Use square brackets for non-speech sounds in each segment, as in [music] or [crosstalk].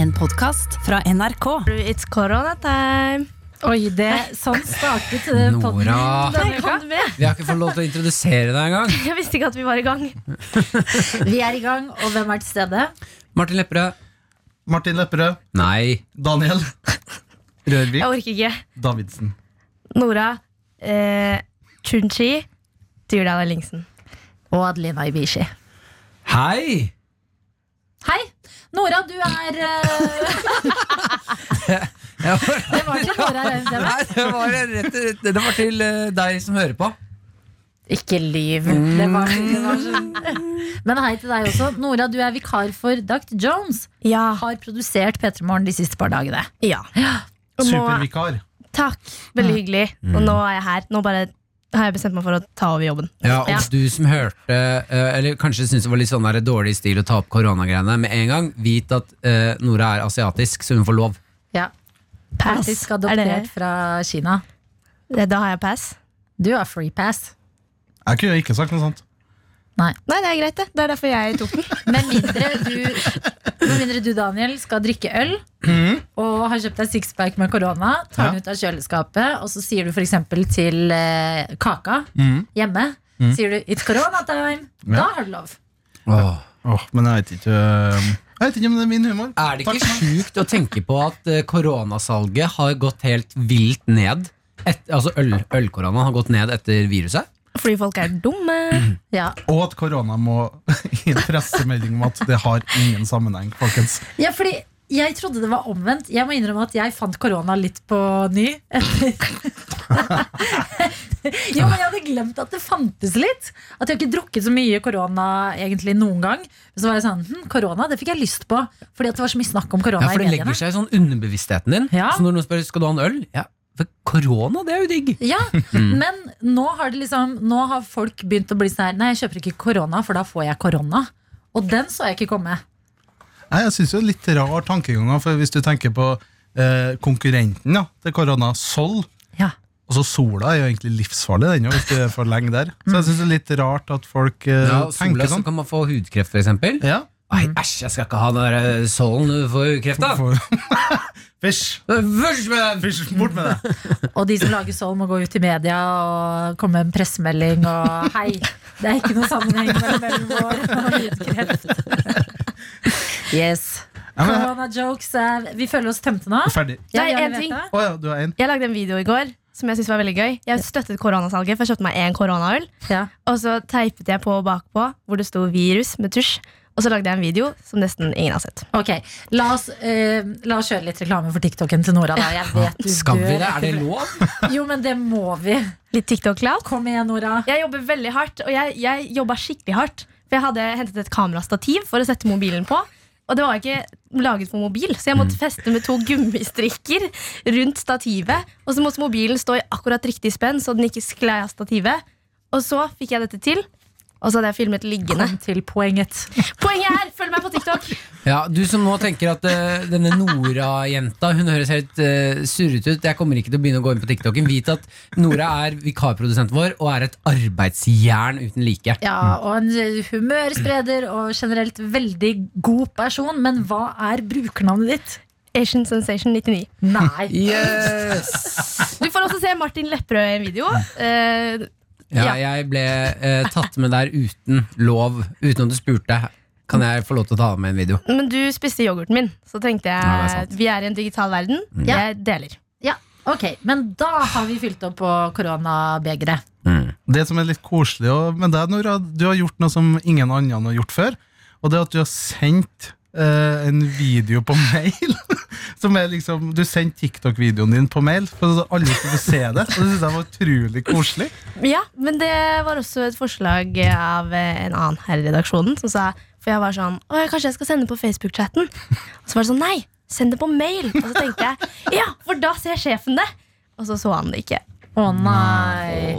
En podkast fra NRK. It's corona time. Oi, det Sånn startet eh, podden Nora. denne uka. Vi har ikke fått lov til å introdusere deg engang. Jeg visste ikke at vi var i gang. Vi er i gang, og hvem er til stede? Martin Lepperød. Martin Lepperød, Nei. Daniel Jeg Rørvik, orker ikke. Davidsen. Nora, eh, Chunchi, Dyrdal Ellingsen. Og Adelina Ibishi. Hei! Hei! Nora, du er eh, Ja, for- Det var til Nora Raundhjem. Nei, det var, rett, rett, det var til eh, deg som hører på. Ikke lyv. Det var, det var sånn. Men hei til deg også. Nora, du er vikar for Dr. Jones. Ja. Har produsert P3 Morgen de siste par dagene. ja. Og nå, Supervikar. takk. Veldig hyggelig. Og nå er jeg her. Nå bare har jeg bestemt meg for å ta over jobben. Ja, og Ja. du som hørte, eh, eller kanskje syntes det var litt sånn der dårlig stil å ta opp koronagreiene med en gang, vit at eh, Nora er asiatisk, så hun får lov. Ja, Pass. Faktisk Er dere- adoptert fra Kina. Det- Da har jeg pass. Du har free pass. Jeg kunne ikke sagt noe sånt. Nei, det er greit, det. Det er derfor jeg tok den. Med mindre du, med mindre du Daniel, skal drikke øl og har kjøpt deg sixpack med korona, tar den ut av kjøleskapet, og så sier du f.eks. til eh, Kaka hjemme Sier du 'it's corona time', da har du lov. Åh, men jeg vet ikke øh, Jeg vet ikke om det er min humor. Er det ikke Takk. sjukt å tenke på at eh, koronasalget har gått helt vilt ned? Et, altså øl, Ølkoronaen har gått ned etter viruset? [laughs] Fordi folk er dumme. Ja. Og at korona må [laughs] gi en pressemelding om at det har ingen sammenheng, folkens. ja, fordi jeg trodde det var omvendt. Jeg må innrømme at jeg fant korona litt på ny. [laughs] jo, men Jeg hadde glemt at det fantes litt. At jeg har ikke drukket så mye korona egentlig noen gang. Men Så var jeg sånn, hm, korona, det fikk jeg lyst på. Fordi at det var så mye snakk om Ja, korona for i det mediene. legger seg i sånn underbevisstheten din. Ja. Så når noen spør skal du ha en øl, ja, for korona det er jo digg. [laughs] Ja, Mm. Men nå har, det liksom, nå har folk begynt å bli sånn her Nei, jeg kjøper ikke korona, for da får jeg korona. Og den så jeg ikke komme. Nei, jeg syns det er litt rar tankegang, da, for hvis du tenker på eh, konkurrenten ja, til korona, Sol Ja. og så Sola er jo egentlig livsfarlig, den jo, hvis du er for lenge der. Så jeg syns det er litt rart at folk eh, Ja, sola tenker så sånn. kan man få hudkreft for eksempel. Ja. Nei, æsj, jeg skal ikke ha den der eh, solen du får hudkreft da. For- Fysj! Først med- Fysj, bort [laughs] med det! Og de som lager Sol, må gå ut i media og komme med en pressemelding og Hei, det er ikke noe sammenheng mellom vår og hudkreft. Yes. Ja, men- Korona-jokes. eh, Vi føler oss tømte nå. Ferdig. Ja, Nei, ja, vi en vet ting. det. Å ja, du har én. Jeg lagde en video i går som jeg syntes var veldig gøy. Jeg støttet koronasalget, for jeg kjøpte meg én koronaøl. Ja. Og så teipet jeg på bakpå hvor det sto 'virus' med tusj. Og så lagde jeg en video som nesten ingen har sett. Ok, la oss, eh, la oss kjøre litt reklame for TikToken til Nora. Da. Jeg vet du Skal vi dør det? Er det etter- lov? Jo, men det må vi. Litt TikTok-clout. Kom igjen, Nora. Jeg jobber veldig hardt, og jeg, jeg jobba skikkelig hardt. For jeg hadde hentet et kamerastativ for å sette mobilen på. Og det var ikke laget for mobil, så jeg måtte feste med to gummistrikker rundt stativet. Og så måtte mobilen stå i akkurat riktig spenn, så den ikke sklei av stativet. Og så fikk jeg dette til. Og så hadde jeg filmet liggende. Kom til poenget. Poenget er, følg meg på TikTok! Ja, Du som nå tenker at eh, denne Nora-jenta Hun høres helt uh, surret ut. Jeg kommer ikke til å begynne å gå inn på TikToken. Vit at Nora er vikarprodusenten vår og er et arbeidsjern uten like. Ja, og en eh, humørspreder og generelt veldig god person. Men hva er brukernavnet ditt? Asian Sensation 99. Nei. Yes! Du får også se Martin Lepperød i en video. Eh, Ja, jeg ble eh, tatt med der uten lov, uten at du spurte. Kan jeg få lov til å ta med en video? men du spiste yoghurten min, så tenkte Ja, det er jeg sant. Mm. vi er i en digital verden. Jeg deler. Ja, ok, Men da har vi fylt opp på koronabegeret. Det som er litt koselig og- med deg, Nora, du har gjort noe som ingen andre har gjort før. Og det er at du har sendt eh, en video på [laughs] mail. Som er liksom, du sendte TikTok-videoen din på mail for at alle skulle få se det. Og det synes jeg var utrolig koselig. Ja, men det var også et forslag av eh, en annen her i redaksjonen som sa For jeg var sånn Å, kanskje jeg skal sende på Facebook-chatten? Og så var det sånn Nei, send det på mail! Og så tenkte jeg Ja, for da ser sjefen det! Og så så han det ikke. Å nei.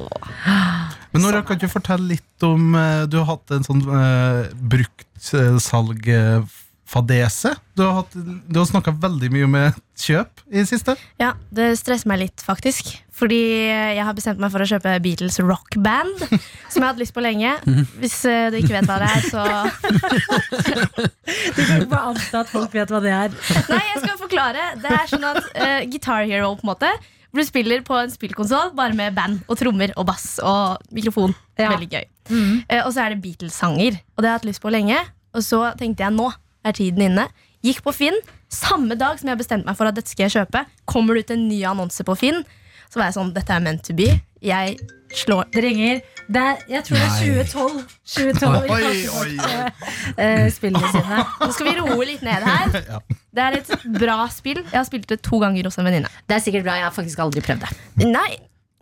Men Nora, kan du fortelle litt om eh, Du har hatt en sånn eh, bruktsalgfase kaffadese. Du har, hatt- du har snakka veldig mye om eh, kjøp i det siste. Ja, det stresser meg litt, faktisk. Fordi jeg har bestemt meg for å kjøpe Beatles Rock Band, som jeg har hatt lyst på lenge. Mhm. Hvis eh, du ikke vet hva det er, så Du kan ikke bare anta at folk vet hva det er. Nei, jeg skal forklare. Det er sånn at eh, Guitar Hero, på en måte, hvor du spiller på en spillkonsoll bare med band og trommer og bass og mikrofon. Ja. Veldig gøy. Eh, og så er det Beatles-sanger, og det har jeg hatt lyst på lenge. Og så tenkte jeg nå er tiden inne. Gikk på Finn. Samme dag som jeg bestemte meg for at dette skal jeg kjøpe, kommer det ut en ny annonse på Finn. Så var jeg sånn, dette er meant to be. Jeg slår Det ringer. Det er, jeg tror det er 2012. 2012 Oi, oi, oi, oi. eh, spillene sine. Nå skal vi roe litt ned her. Det er et bra spill. Jeg har spilt det to ganger hos en venninne. Det er sikkert bra. Jeg har faktisk aldri prøvd det. Nei,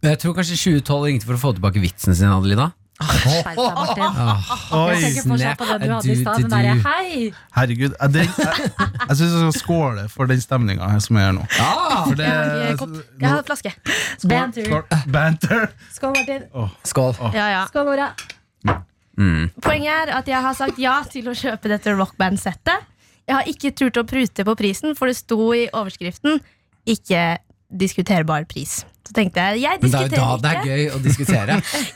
Jeg tror kanskje 2012 ringte for å få tilbake vitsen sin, Adelina. Skjerp deg, Martin. Oi. Jeg tenker fortsatt på den du hadde i stad. Den derre hei. Herregud. Jeg, det, jeg, jeg syns jeg skal skåle for den stemninga som er her nå. Ah, For det, jeg har en flaske. Banter. Eh, Skål. Banter. Skål, Martin. skål. Ja, ja. Skål, Nora. Mm. Poenget er at jeg har sagt ja til å kjøpe dette rockband-settet. Jeg har ikke turt å prute på prisen, for det sto i overskriften 'ikke diskuterbar pris'. Så tenkte jeg jeg Men det er jo da diskuterer det er ikke. gøy å diskutere.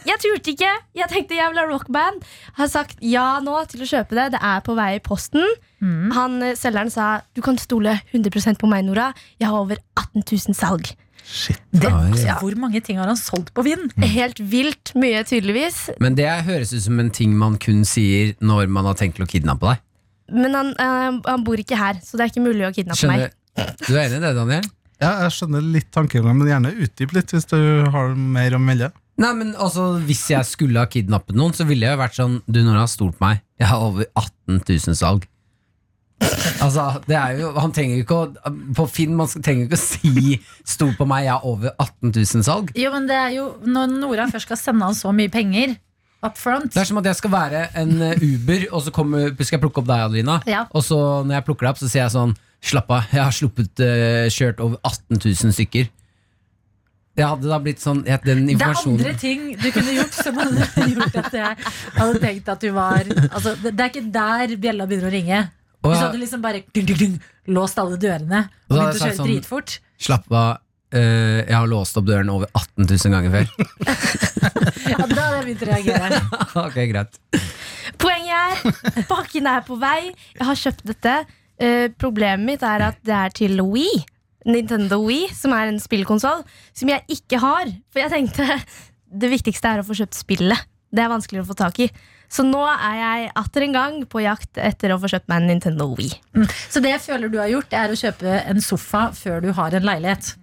Jeg turte ikke. Jeg tenkte jeg vil ha rockband. Har sagt ja nå til å kjøpe det. Det er på vei i posten. Mm. Han, eh, Selgeren sa 'du kan stole 100 på meg, Nora. Jeg har over 18 000 salg'. Det, Oi. altså, hvor mange ting har han solgt på Vinn? Mm. Helt vilt mye, tydeligvis. Men det høres ut som en ting man kun sier når man har tenkt å kidnappe deg. Men han, eh, han bor ikke her, så det er ikke mulig å kidnappe meg. Skjønner Du er enig i det, Daniel? Ja, jeg skjønner litt tankegang, men gjerne utdyp litt hvis du har mer å melde. Nei, men altså, Hvis jeg skulle ha kidnappet noen, så ville jeg jo vært sånn Du, Nora, stol på meg. Jeg har over 18 000 salg. Altså, det er jo Han trenger jo ikke å På Finn man skal- trenger jo ikke å si 'stol på meg, jeg har over 18 000 salg'. Jo, men det er jo Når Nora først skal sende han så mye penger up front Det er som at jeg skal være en eh, Uber, og så kommer, skal jeg plukke opp deg, Adelina. Ja. Og så når jeg plukker deg opp, så sier jeg sånn Slapp av, jeg har sluppet eh, kjørt over 18 000 stykker. Jeg hadde da blitt sånn jeg- Den Det er andre informasjonen ting du kunne gjort som hadde [laughs] gjort at jeg hadde tenkt at du var altså, Det det er ikke der bjella begynner å ringe. Og Hvis du jeg- hadde liksom bare dung, dung, dung, låst alle dørene Da hadde og begynt å jeg kjøre sagt sånn- dritfort Slapp av. eh, jeg har låst opp døren over 18 000 ganger før. ja, Da hadde jeg begynt å reagere. [laughs] ok, greit Poenget er pakken er på vei. Jeg har kjøpt dette. Eh, problemet mitt er at det er til Wii. Nintendo Wii, som er en spillkonsoll, som jeg ikke har. For jeg tenkte det viktigste er å få kjøpt spillet. Det er vanskeligere å få tak i. Så nå er jeg atter en gang på jakt etter å få kjøpt meg en Nintendo Wii. Så det jeg føler du har gjort, er å kjøpe en sofa før du har en leilighet.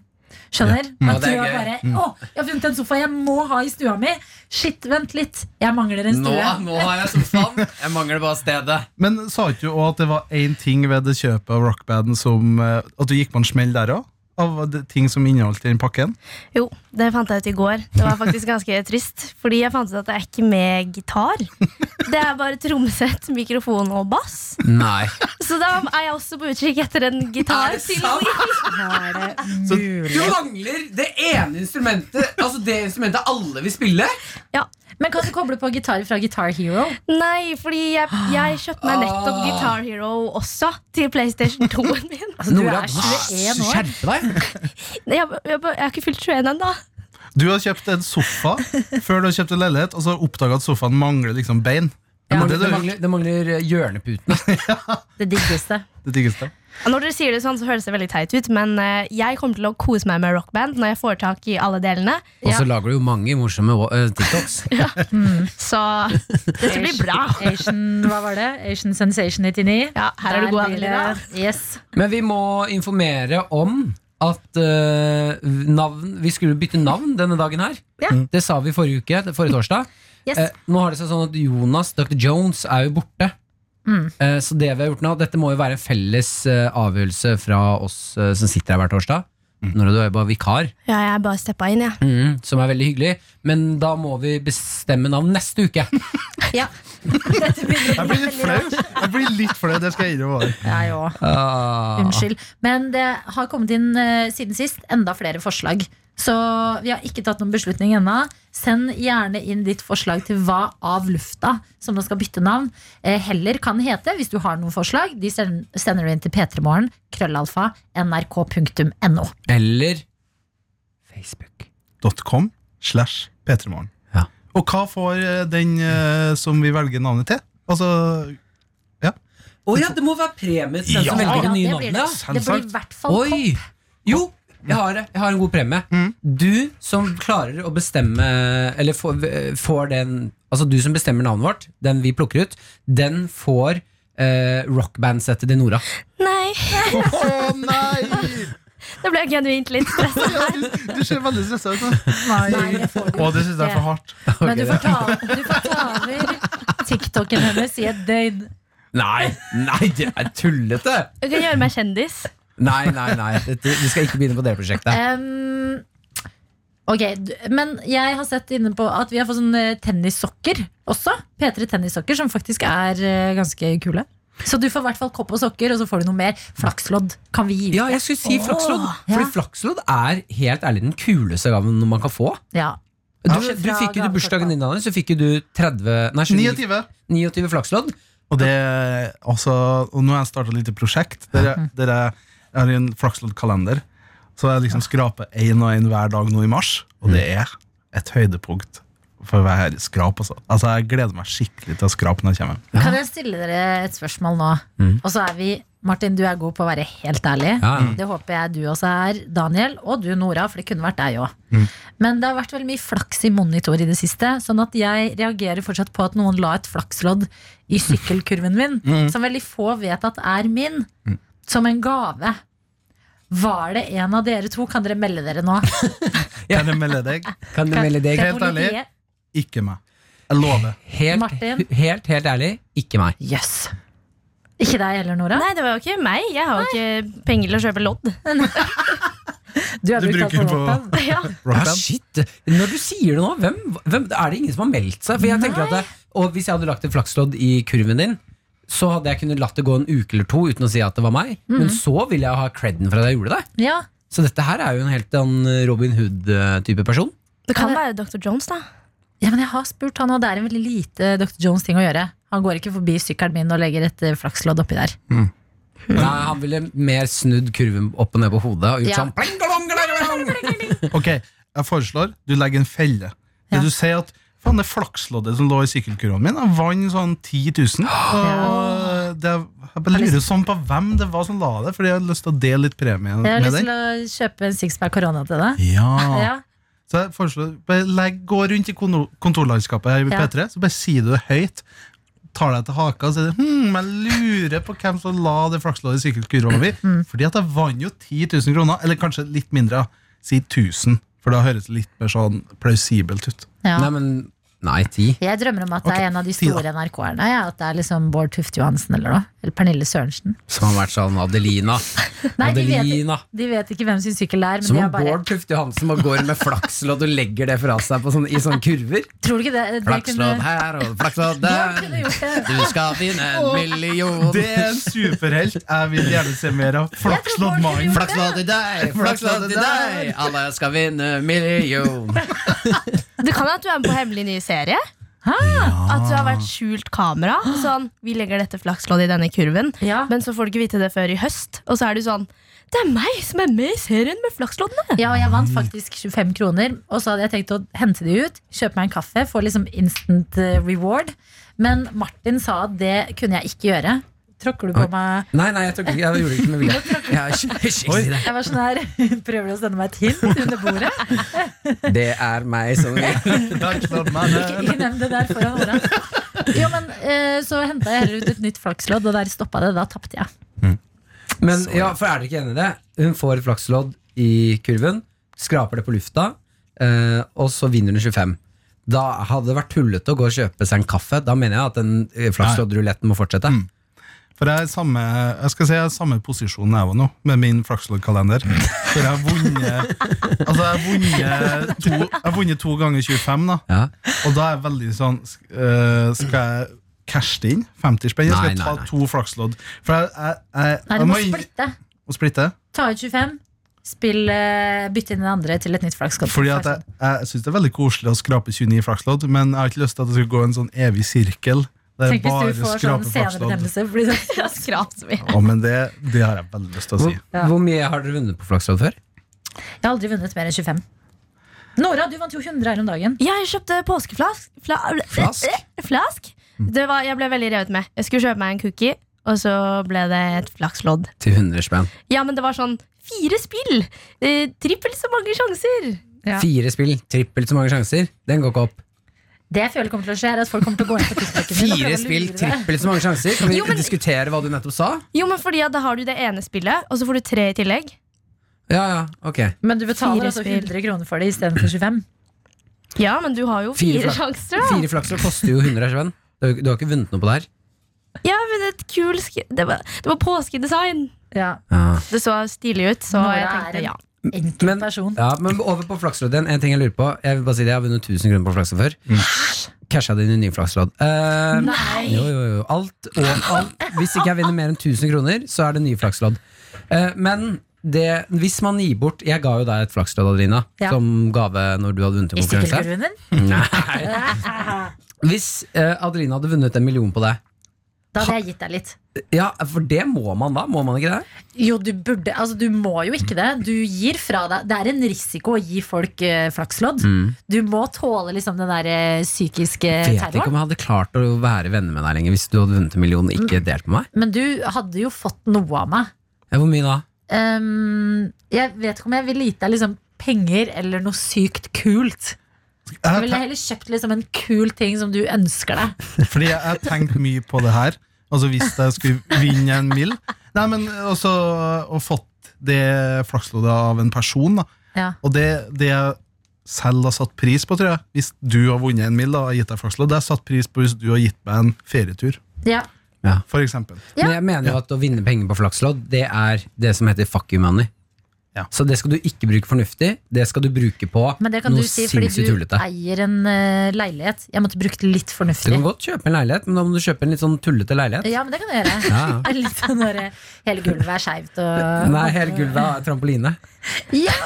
Skjønner? Ja, At det du er gøy. har Mm. bare Å, jeg har funnet en sofa jeg må ha i stua mi! Shit, vent litt. Jeg mangler en nå, stue. nå har jeg sofaen. Jeg mangler bare stedet. Men sa ikke du også at det var én ting ved det kjøpet av rockbanden som eh, At du gikk på en smell der òg? Av det- ting som inneholdt i den pakken? Jo, det fant jeg ut i går. Det var faktisk ganske trist. Fordi jeg fant ut at det er ikke med gitar. Det er bare trommesett, mikrofon og bass. Nei. Så da er jeg også på utkikk etter en gitar. til Er det Du mangler det ene instrumentet Altså det instrumentet alle vil spille. Ja. Men kan du koble på gitar fra Guitar Hero? Nei, fordi jeg, jeg kjøpte meg nettopp Ah. Guitar Hero også til PlayStation 2-en min. [laughs] Altså, du er 21 år. deg. Jeg, jeg, jeg har ikke fylt 21 ennå. Du har kjøpt en sofa før du har kjøpt en leilighet, og så har du oppdaga at sofaen mangler liksom bein. Det Ja, mangler, det er det jo- mangler, det mangler eh, hjørneputene. Det diggeste. Det diggeste. Når dere sier det sånn, så høres det veldig teit ut, men eh, jeg kommer til å kose meg med rockband når jeg får tak i alle delene. Og så lager du jo mange morsomme eh, TikToks. [laughs] Så dette blir bra. Asian, hva var det? Asian Sensation 99. Ja, her er du Der god, blir Adelina. det- Yes. Men vi må informere om at eh, navn, vi skulle bytte navn denne dagen her. Ja. Det sa vi forrige uke, det- forrige torsdag. Yes. Eh, nå har det seg sånn at Jonas, Dr. Jones, er jo borte. Mm. Eh, så det vi har gjort nå, dette må jo være en felles eh, avgjørelse fra oss eh, som sitter her hver torsdag. Nora, du er jo bare vikar, Ja, jeg bare steppa inn, Mm. jeg. som er veldig hyggelig. Men da må vi bestemme navn neste uke. Ja. Dette blir Jeg blir litt flau. Jeg blir litt flau, det skal jeg innrømme. Jeg òg. Ah. Unnskyld. Men det har kommet inn eh, siden sist enda flere forslag Så vi har ikke tatt noen beslutning ennå. Send gjerne inn ditt forslag til hva av lufta som nå skal bytte navn. Eh, heller kan hete, hvis du har noen forslag, de send- sender du inn til p3morgen, krøllalfa, nrk.no. Eller Facebook. .com slash p3morgen. Ja. Og hva får eh, den eh, som vi velger navnet til? Altså, Å ja, det må være premie til den Ja. som velger det nye Ja, det blir navnet. ja. Det blir i hvert fall pop. Oi! Jo, jeg har det. Jeg har en god premie. Mm. Du som klarer å bestemme Eller får, får den Altså du som bestemmer navnet vårt, den vi plukker ut, den får eh, rockbandsettet til Nora. Nei, Å nei! da ble jeg genuint litt stressa. [laughs] Du ser veldig stressa ut. nå. Nei, det får du Å, det syns jeg er ikke. for hardt. [laughs] Men du Ok, får ta, du får ta over TikToken hennes i et døgn. Nei, nei, det er tullete! Du kan gjøre meg kjendis. Nei, nei, nei. Dette, vi skal ikke begynne på det prosjektet. Um, ok, d- men jeg har sett inne på at vi har fått sånne tennissokker også. P3 tennissokker, som faktisk er eh, ganske kule. Så du får i hvert fall kopp og sokker, og så får du noe mer. Flakslodd kan vi gi ut. Ja, jeg skulle si flakslodd. Fordi Ja. flakslodd er helt ærlig den kuleste gaven man kan få. Ja. Du, Ja. du fikk jo til bursdagen din, Daniel, så fikk jo du 30 Nei, 29 29. 29 flakslodd. Og det er altså, og nå har jeg starta et lite prosjekt. Der jeg, der jeg, jeg har en Flakslodd-kalender. Så jeg liksom skraper én og én hver dag nå i mars. Og det er et høydepunkt for hver skrap. Altså. altså, jeg gleder meg skikkelig til å skrape når jeg kommer hjem. Kan jeg stille dere et spørsmål nå? Mm. Og så er vi Martin, du er god på å være helt ærlig. Ja, ja. Det håper jeg du også er, Daniel, og du, Nora, for det kunne vært deg òg. Mm. Men det har vært veldig mye flaks i monitor i det siste, sånn at jeg reagerer fortsatt på at noen la et flakslodd i sykkelkurven [laughs] min, Mm. som veldig få vet at er min, som en gave. Var det en av dere to? Kan dere melde dere nå? Kan jeg melde deg? Kan du melde deg? Helt ærlig? Politiet. Ikke meg. Jeg [laughs] lover. Helt, Martin? helt, helt ærlig, ikke meg. Jøss. Ikke deg heller, Nora. Nei, det var jo ikke meg. Jeg har jo ikke penger til å kjøpe [laughs] lodd. Du har Du brukt alt bruker på på- Wattpad. Ja. Ja, Rockband. shit. Når du sier det nå, hvem, hvem, er det ingen som har meldt seg? For jeg tenker at det, og Hvis jeg hadde lagt et flakslodd i kurven din, så hadde jeg kunnet latt det gå en uke eller to uten å si at det var meg. Men Mhm. så ville jeg ha creden for at jeg gjorde det. Ja. Så dette her er jo en helt annen eh, Robin Hood-type person. Det kan være Dr. Jones, da. Ja, men jeg har spurt han, og det er en veldig lite Dr. Jones-ting å gjøre. Han går ikke forbi sykkelen min og legger et eh, flakslodd oppi der. Mhm. Nei, Han ville mer snudd kurven opp og ned på hodet og gjort Ja. sånn pling, galong, galong, galong. Ok, jeg foreslår du legger en felle. Ja. Du sier at faen, det flaksloddet som lå i sykkelkurven min, jeg vant sånn 10 [gasps] 000. Og eh, det, jeg bare lurer sånn på hvem det var som la det, fordi jeg har lyst til å dele litt premie Jeg har med lyst til deg. å kjøpe en sixpack korona til deg. Ja. Ja. Så jeg foreslår bare legg, Gå rundt i kono- kontorlandskapet her i Ja. P3, så bare sier du det høyt. Tar deg til haka og sier det, hm, jeg lurer på hvem som la det flaksloddet i sykkelkurven min. Fordi at jeg vant jo 10 000 kroner, eller kanskje litt mindre. Si 1000, for da høres det litt mer sånn plausibelt ut. Ja. Nei, men Nei, ti. Jeg drømmer om at det Ok, er en av de si store NRK-erne. Ja, at det er liksom Bård Tufte Johansen eller noe. Eller Pernille Sørensen. Som har vært sånn Adelina. Nei, de vet, Adelina. de vet ikke hvem sin sykkel det er, men Som de om har bare Bård Tufte Johansen bare går med flakslodd og legger det fra seg på sånn, i sånne kurver. Tror du ikke det? det Flakslodd her og flakslodd Bård der. kunne gjort det. Du skal vinne en million. Det er en superhelt jeg vil gjerne se mer av. Flakslodd Main. Flakslodd til deg, flakslodd til deg. Alle skal vinne en million. [laughs] Det kan være at du er med på hemmelig ny serie. At du har vært skjult kamera. og Sånn, vi legger dette flaksloddet i denne kurven, Ja. men så får du ikke vite det før i høst. Og så er du sånn Det er meg som er med i serien med flaksloddene! ja, og jeg vant faktisk 25 kroner, og så hadde jeg tenkt å hente de ut, kjøpe meg en kaffe, få liksom instant eh, reward. Men Martin sa at det kunne jeg ikke gjøre. Tråkker du på Oi. meg? Nei, nei, jeg, tok, jeg gjorde det ikke med vilje. Jeg har ikke- ikke si det. Jeg var sånn her, [laughs] prøver du å sende meg et hint under bordet? Det er meg som Flakslodd Ikke, Main. ikke nevn det der foran Nora. Jo, men eh, Så henta jeg heller ut et nytt flakslodd, og der stoppa det. Da tapte jeg. Men ja, for er dere ikke enig i det? Hun får et flakslodd i kurven, skraper det på lufta, eh, og så vinner hun 25. Da hadde det vært tullete å gå og kjøpe seg en kaffe. Da mener jeg at den eh, flaksloddruletten må fortsette. For jeg er i samme, jeg skal si jeg er i samme posisjon jeg var nå, med min Flakslodd-kalender. For jeg har vunnet Altså, jeg har vunnet to, jeg har vunnet to ganger 25, da. Ja. Og da er jeg veldig sånn sk- øh, Skal jeg cashe det inn? 50 spenn? Jeg Nei, skal nei, ta nei. to Flakslodd. For jeg, jeg, jeg, Nei, jeg du må må inn- splitte. og splitte. Ta ut 25, Spill, eh, bytte inn den andre til et nytt flakslodd. Fordi at jeg, jeg syns det er veldig koselig å skrape 29 flakslodd, men jeg har ikke lyst til at det skal gå en sånn evig sirkel. Der jeg Tenk bare hvis du får sånn skraper flakslodd. senebetennelse. [laughs] Fordi det, Jeg har skrapt så mye. Å, men det, det har jeg veldig lyst til å si. Hvor, hvor mye har dere vunnet på flakslodd før? jeg har aldri vunnet mer enn 25. Nora, du vant jo 100 her om dagen. Ja, jeg kjøpte påskeflask. Fla, eh, Flask? Mm. flask? Det var, jeg ble veldig revet med. Jeg skulle kjøpe meg en cookie, og så ble det et flakslodd. Til 100 spenn. Ja, men det var sånn fire spill! Eh, Trippelt så mange sjanser! Ja. Fire spill, trippelt så mange sjanser. Den går ikke opp. Det jeg føler kommer til å skje, er at folk kommer til å [laughs] gå inn på TikToken din og prøve Fire å spill, lure deg. trippelt så mange sjanser. Kan vi Jo, men- diskutere hva du nettopp sa? Jo, men fordi at da har du det ene spillet, og så får du tre i tillegg. Ja, ja, ok Men du betaler Fire altså spill. 100 kroner for det istedenfor 25. Ja, men du har jo Fire fire, flak- sjanser, da! Fire flakslodd koster jo 100 her, Sven. Du, har- du har ikke vunnet noe på det her. Ja, men et kul sk det, var, det var påskedesign! Ja, Det så stilig ut, så Nora jeg er en- tenkte ja. Enkel Men- person. Ja, men over på flakslodd igjen. En ting jeg lurer på. Jeg vil bare si det, jeg har vunnet 1000 kroner på flakslodd før. Casha det inn i nye flakslodd. Eh, Mm. Nei. jo, jo, jo. Alt og alt. Hvis ikke jeg vinner mer enn 1000 kroner, så er det nye flakslodd. Eh, men det, hvis man gir bort Jeg ga jo deg et flakslodd, Adelina, Ja. som gave når du hadde vunnet en Hvis ikke konkurranse. du vinner, Nei. Hvis eh, Adelina hadde vunnet en million på det da hadde jeg gitt deg litt. Ja, for det må man da, må man ikke det? Jo, du burde Altså, du må jo ikke det. Du gir fra deg Det er en risiko å gi folk eh, flakslodd. Du må tåle liksom den der eh, psykiske Jeg vet ikke terroren. om jeg hadde klart å være venner med deg lenger hvis du hadde vunnet en million og ikke delt med meg. Men du hadde jo fått noe av meg. Ja, Hvor mye da? Ehm, jeg vet ikke om jeg ville gitt deg liksom penger eller noe sykt kult. Jeg Jeg, ville heller kjøpt liksom en kul ting som du ønsker deg. tenk- fordi jeg har tenkt mye på det her. Altså Hvis jeg skulle vinne en mill. Nei, men også og fått det flaksloddet av en person. da Ja. Og det, det jeg selv har satt pris på, tror jeg, hvis du har vunnet en mill da, og jeg har gitt deg flakslodd, det har jeg satt pris på hvis du har gitt meg en ferietur, Ja. for eksempel. Ja. Men jeg mener jo at å vinne penger på flakslodd, det er det som heter fuck you money. Ja. Så det skal du ikke bruke fornuftig, det skal du bruke på Men det kan noe du si fordi sinnssykt du tullete. eier en eh, leilighet. Jeg måtte brukt litt Du fornuftig. kan godt kjøpe en leilighet, men da må du kjøpe en litt sånn tullete leilighet. Ja, men det kan du gjøre. Ja. [laughs] Det er Litt sånn når eh, hele gulvet er skeivt og Nei, hele gulvet er trampoline. Ja!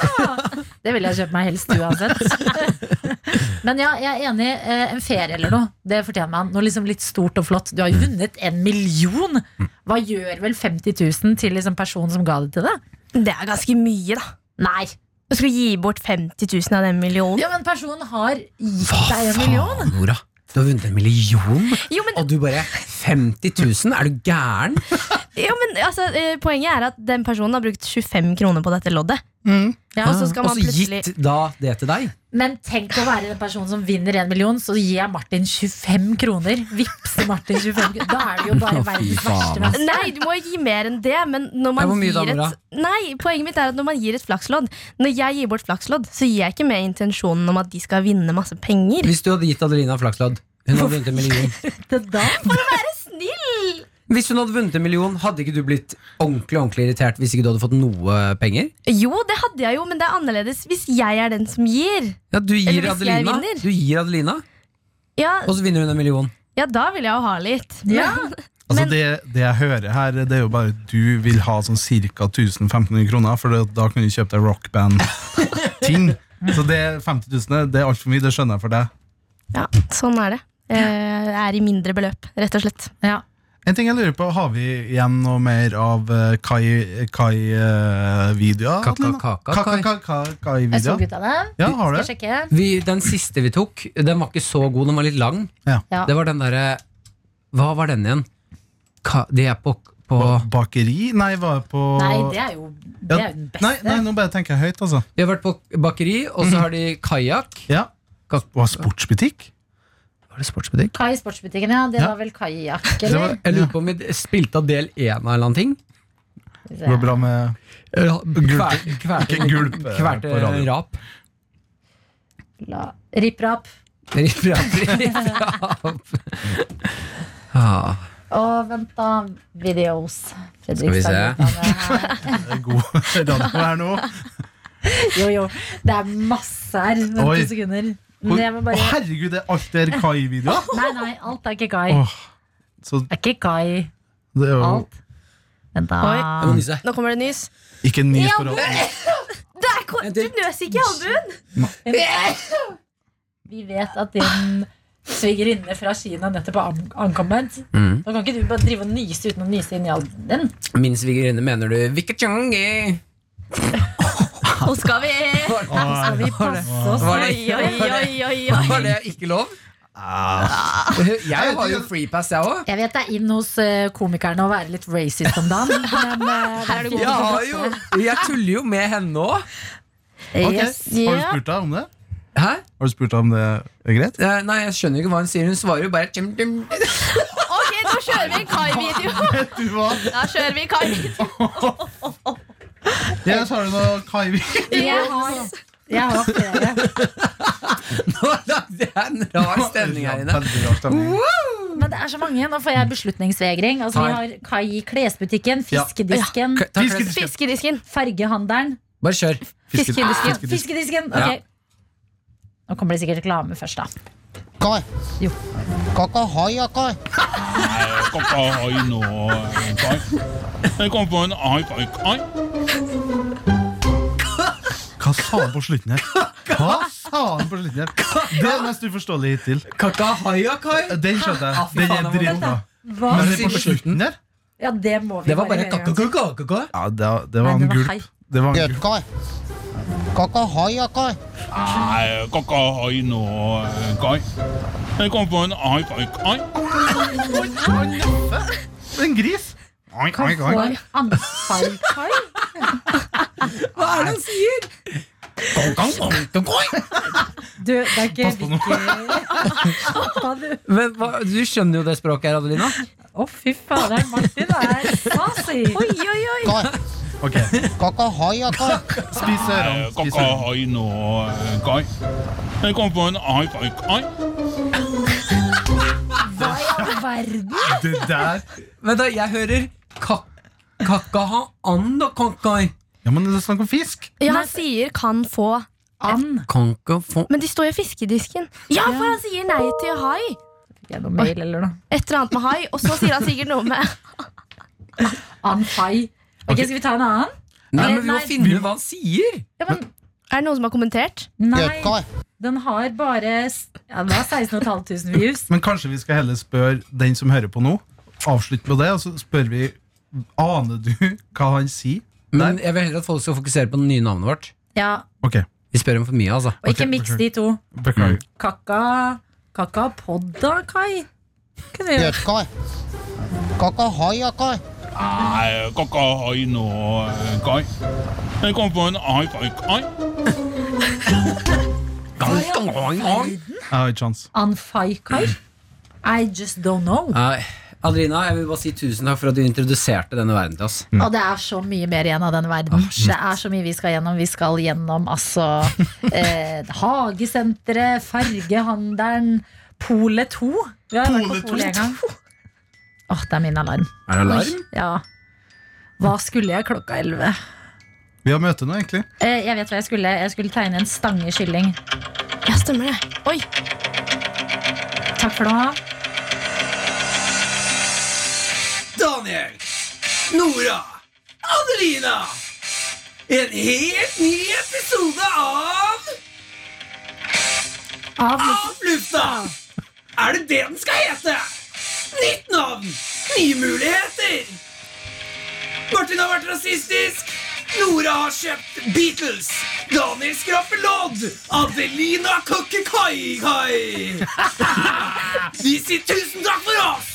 Det ville jeg kjøpt meg helst uansett. [laughs] Men ja, jeg er enig. eh, En ferie eller noe, det fortjener man. Noe liksom litt stort og flott. Du har Mm. jo vunnet en million! Hva gjør vel 50 000 til liksom personen som ga det til deg? Det er ganske mye, da. Nei! Du skulle gi bort 50 000 av den millionen. Ja, men personen har gitt Hva deg en million! faen, Nora? Du har vunnet en million, Jo, men, og du bare 50 000? Er du gæren? jo, men altså, eh, Poenget er at den personen har brukt 25 kroner på dette loddet. Ja. Og så skal Mm. Ah. Og man så plutselig gitt da det til deg? Men tenk å være den personen som vinner en million, så gir jeg Martin 25 kroner. Vipser Martin 25 kroner. Da er det jo bare Å, fy verdens faen, verste ass. menneske. Nei, du må ikke gi mer enn det. Men når Ja, man hvor mye da, gir Nora? et, nei, poenget mitt er at når man gir et flakslodd Når jeg gir bort flakslodd, så gir jeg ikke med intensjonen om at de skal vinne masse penger. Hvis du hadde gitt Adelina flakslodd, hun hadde vunnet en million. Det da Snill! Hvis hun hadde vunnet en million, hadde ikke du blitt ordentlig ordentlig irritert hvis ikke du hadde fått noe penger? Jo, det hadde jeg jo, men det er annerledes hvis jeg er den som gir. Ja, du gir Eller hvis jeg Adelina, vinner. du gir Adelina Ja, og så vinner hun en million. ja da vil jeg jo ha litt. Men, Ja. Altså Men- det, det jeg hører her, det er jo bare at du vil ha sånn ca. 1500 kroner, for det, da kan du kjøpe deg rockband-ting. Så det 50 000 det er altfor mye, det skjønner jeg for deg. ja, sånn er det. Eh, Det er i mindre beløp, rett og slett. Ja. En ting jeg lurer på, Har vi igjen noe mer av eh, Kai-videoer? Kaka-kaka-kai. Jeg så Kai-videoer? ut av det. Ja, har Skal du? jeg sjekke? Vi, den siste vi tok, den var ikke så god, den var litt lang. Ja. Ja. Det var den derre Hva var den igjen? Ka, de er på, på Ba- Bakeri? Nei, var jeg på Nei, det er jo, det er jo den beste. Nei, nei, nå bare tenker jeg høyt, altså. Vi har vært på bakeri, og så har de kajakk. Ja. Ka- Og sportsbutikk? Var det sportsbutikk? Kai i sportsbutikken, ja. Det Ja. var vel kajakk, Det eller? var, Jeg lurer på om vi spilte av del én av en eller annen ting. Skal vi det var se. bra med Kverte, Ikke kverte, gulp eh, kverte på radio. rap. La, ripp rapp. Riff, [laughs] rapp, riff, rapp. Ah. Og vent, da. Videos. Skal vi se. Det er eh, god [laughs] radio her nå. Jo, jo. Det er masse her. Vent Oi. to sekunder. Hvor- [laughs] Men jeg må Å, bare herregud, det er alt der Kai-videoer? Nei, nei, alt er ikke Kai. Åh, så Det er ikke Kai. det er jo Alt. Vent, da. Oi. Jeg må nyse. Nå kommer det nys. ikke en ny forhold. ko- Du nøs ikke i albuen! Vi vet at din svigerinne fra Kina nettopp har an- ankommet. Mm. Da kan ikke du bare drive og nyse uten å nyse inn i all den. Min svigerinne mener du Vikachangi! Nå skal altså, vi Skal vi passe oss? Var Oi, det- oi, oi, oi, oi. Var det ikke lov? Ah. Jeg har jo freepass, jeg òg. Jeg vet det er inn hos eh, komikerne å være litt racist om dagen. Men eh, Her er det god fint Jeg, å har droppe jo, jeg tuller jo med henne òg. det. Ok, Yes. Har du Ja. spurt deg om det? Hæ? Har du spurt deg om det er [laughs] greit? Eh, Nei, jeg skjønner ikke hva hun sier. Hun svarer jo bare tjum, [laughs] tjum. Ok, nå kjører vi en kai-video. Du hva? [laughs] Da kjører vi kai-video. Yes, har du noe Kaivi? [laughs] Jeg har, jeg har flere. Nå lagde jeg en rar stemning her inne. Veldig rar stemning. Men det er så mange. Nå får jeg beslutningsvegring. Altså, vi har Kai i klesbutikken, fiskedisken, K- ta Fisket- kløs. Fiskedisken. fargehandelen. Bare kjør. Fiskedisken. Fiskedisken. Fiskedisken. Ja. ok. Nå kommer det sikkert reklame først, da. coi Jo. có có hỏi à coi có cơ hội nữa coi Thế con vốn ai phải coi Hva sa han på slutten her? Hva sa han på slutten her? Det er mest uforståelig hittil. Kakahayakai. Den skjønte jeg. Den er dritbra. Hva? Men det er på slutten der? Ja, det må vi Det var bare gjøre en gang. kakakakakaka. Ja, det, det Nei, var det en var hei. gulp. Det var en dệt gulp. coi có có hỏi à coi à có cơ hội nữa coi Thế con vốn ai phải coi Det er En gris. Oi, oi, oi. Får anfall, Kai? Hva er det han sier? Du, det er ikke Pass på nå. Hva du- Men hva, Du skjønner jo det språket her, Adelina. Å, fy fader. Martin er sassy. Oi, oi, oi. coi Ok, có có hỏi à coi Spis ørene. à có Spis cơ ørene. hội nữa coi Thế con vốn ai phải coi Hva i all verden? Det der Vent, da. Jeg hører kakaha-anda-kankai. Ja, men det er snakk om fisk. Ja, han sier kan få And. Kankafon... Men de står jo i fiskedisken. Ja, for han sier nei til hai. Gjennom mail eller noe. Et eller annet med hai. Og så sier han sikkert noe med Anfai. Ok, skal vi ta en annen? Nei, men vi må Nei. finne ut hva han sier. Ja, men Er det noen som har kommentert? dệt nei. coi Den har bare s- ja, det var 16 500 views. Men kanskje vi skal heller spørre den som hører på nå. Avslutte med det, og så spør vi Aner du hva han sier? Men jeg vil heller at folk skal fokusere på det nye navnet vårt. Ja, Ok, Vi spør om for mye, altså. Og ikke miks de to. beklager. Mm. Kakka Kakka podda, Kai. Kunne vi dệt gjort. coi có có hỏi à coi à có cơ hội nữa coi Thế con vốn ai phải coi Jeg har ikke sjans. Anfai, Kai. I just don't know. Nei. Adelina, jeg vil bare si tusen takk for at du introduserte denne verden til oss. Og det er så mye mer igjen av den verden. det er så mye vi skal gjennom. Vi skal gjennom altså [laughs] eh, Hagesenteret, Fargehandelen, Polet 2. Vi har vært på Polet en gang. Åh, det er min alarm. Er det alarm? Ja. Hva skulle jeg klokka elleve? Vi har møte nå, egentlig. Eh, jeg vet hva jeg skulle. Jeg skulle tegne en stange kylling. Ja, stemmer det. Oi, Takk for nå. Daniel, Nora, Adelina. En helt ny episode av Av Av lufta! Er det det den skal hete? Nytt navn, nye muligheter. Martin har vært rasistisk. Nora har kjøpt Beatles. Daniel skraper lodd. Adelina kokker kai-kai. Vi sier tusen takk for oss!